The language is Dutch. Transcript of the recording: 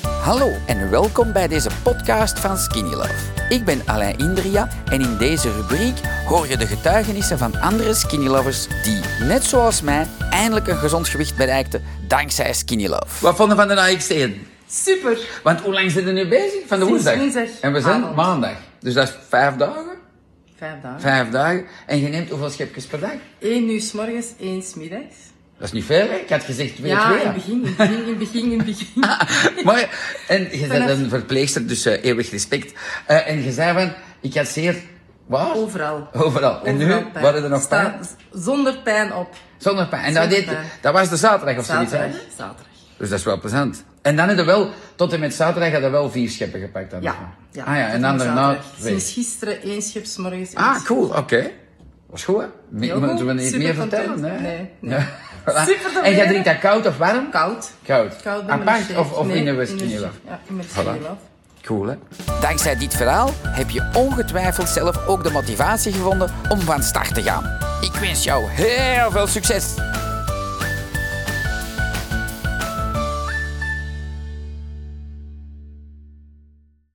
Hallo en welkom bij deze podcast van Skinny Love. Ik ben Alain Indria en in deze rubriek hoor je de getuigenissen van andere Skinny Lovers die, net zoals mij, eindelijk een gezond gewicht bereikten dankzij Skinny Love. Wat vonden van de AX1? Super. Want hoe lang zijn we nu bezig? Van de Sinds woensdag? woensdag. En we zijn Avond. maandag. Dus dat is vijf dagen? Vijf dagen. Vijf dagen. En je neemt hoeveel schepjes per dag? Eén uur s morgens, één s middags. Dat is niet veel, hè? Ik had gezegd twee, ja, twee. in het begin, in het begin, in het begin, in het begin. Maar, en je bent Vanaf- een verpleegster, dus eh, eeuwig respect. Eh, en je zei van, ik had zeer... Waar? Overal. Overal. En nu Overal pijn. waren er nog Sta- pijn? Zonder pijn op. Zonder pijn. En dat, Zonder deed, pijn. dat was de zaterdag of zoiets, hè? Zaterdag. Zaterdag. Dus dat is wel plezant. En dan hebben we wel, tot en met zaterdag, hadden we wel vier scheppen gepakt. Dan nog Ja. maar. ja. Ah ja, Tot en dan zaterdag. daarna twee. Sinds gisteren één schip s morgens. één Ah, schip- cool, oké. Was goed, hè? Me- Heel Moeten we goed. niet Super meer content. vertellen? hè? Nee, nee. Ja. Voilà. Super te En jij leren. drinkt dat koud of warm? Koud. Koud. Koud bij Apart mijn of, of Nee, in de in whisky? de- Ja, in de Voilà. whisky Cool, hè? Dankzij dit verhaal heb je ongetwijfeld zelf ook de motivatie gevonden om van start te gaan. Ik wens jou heel veel succes!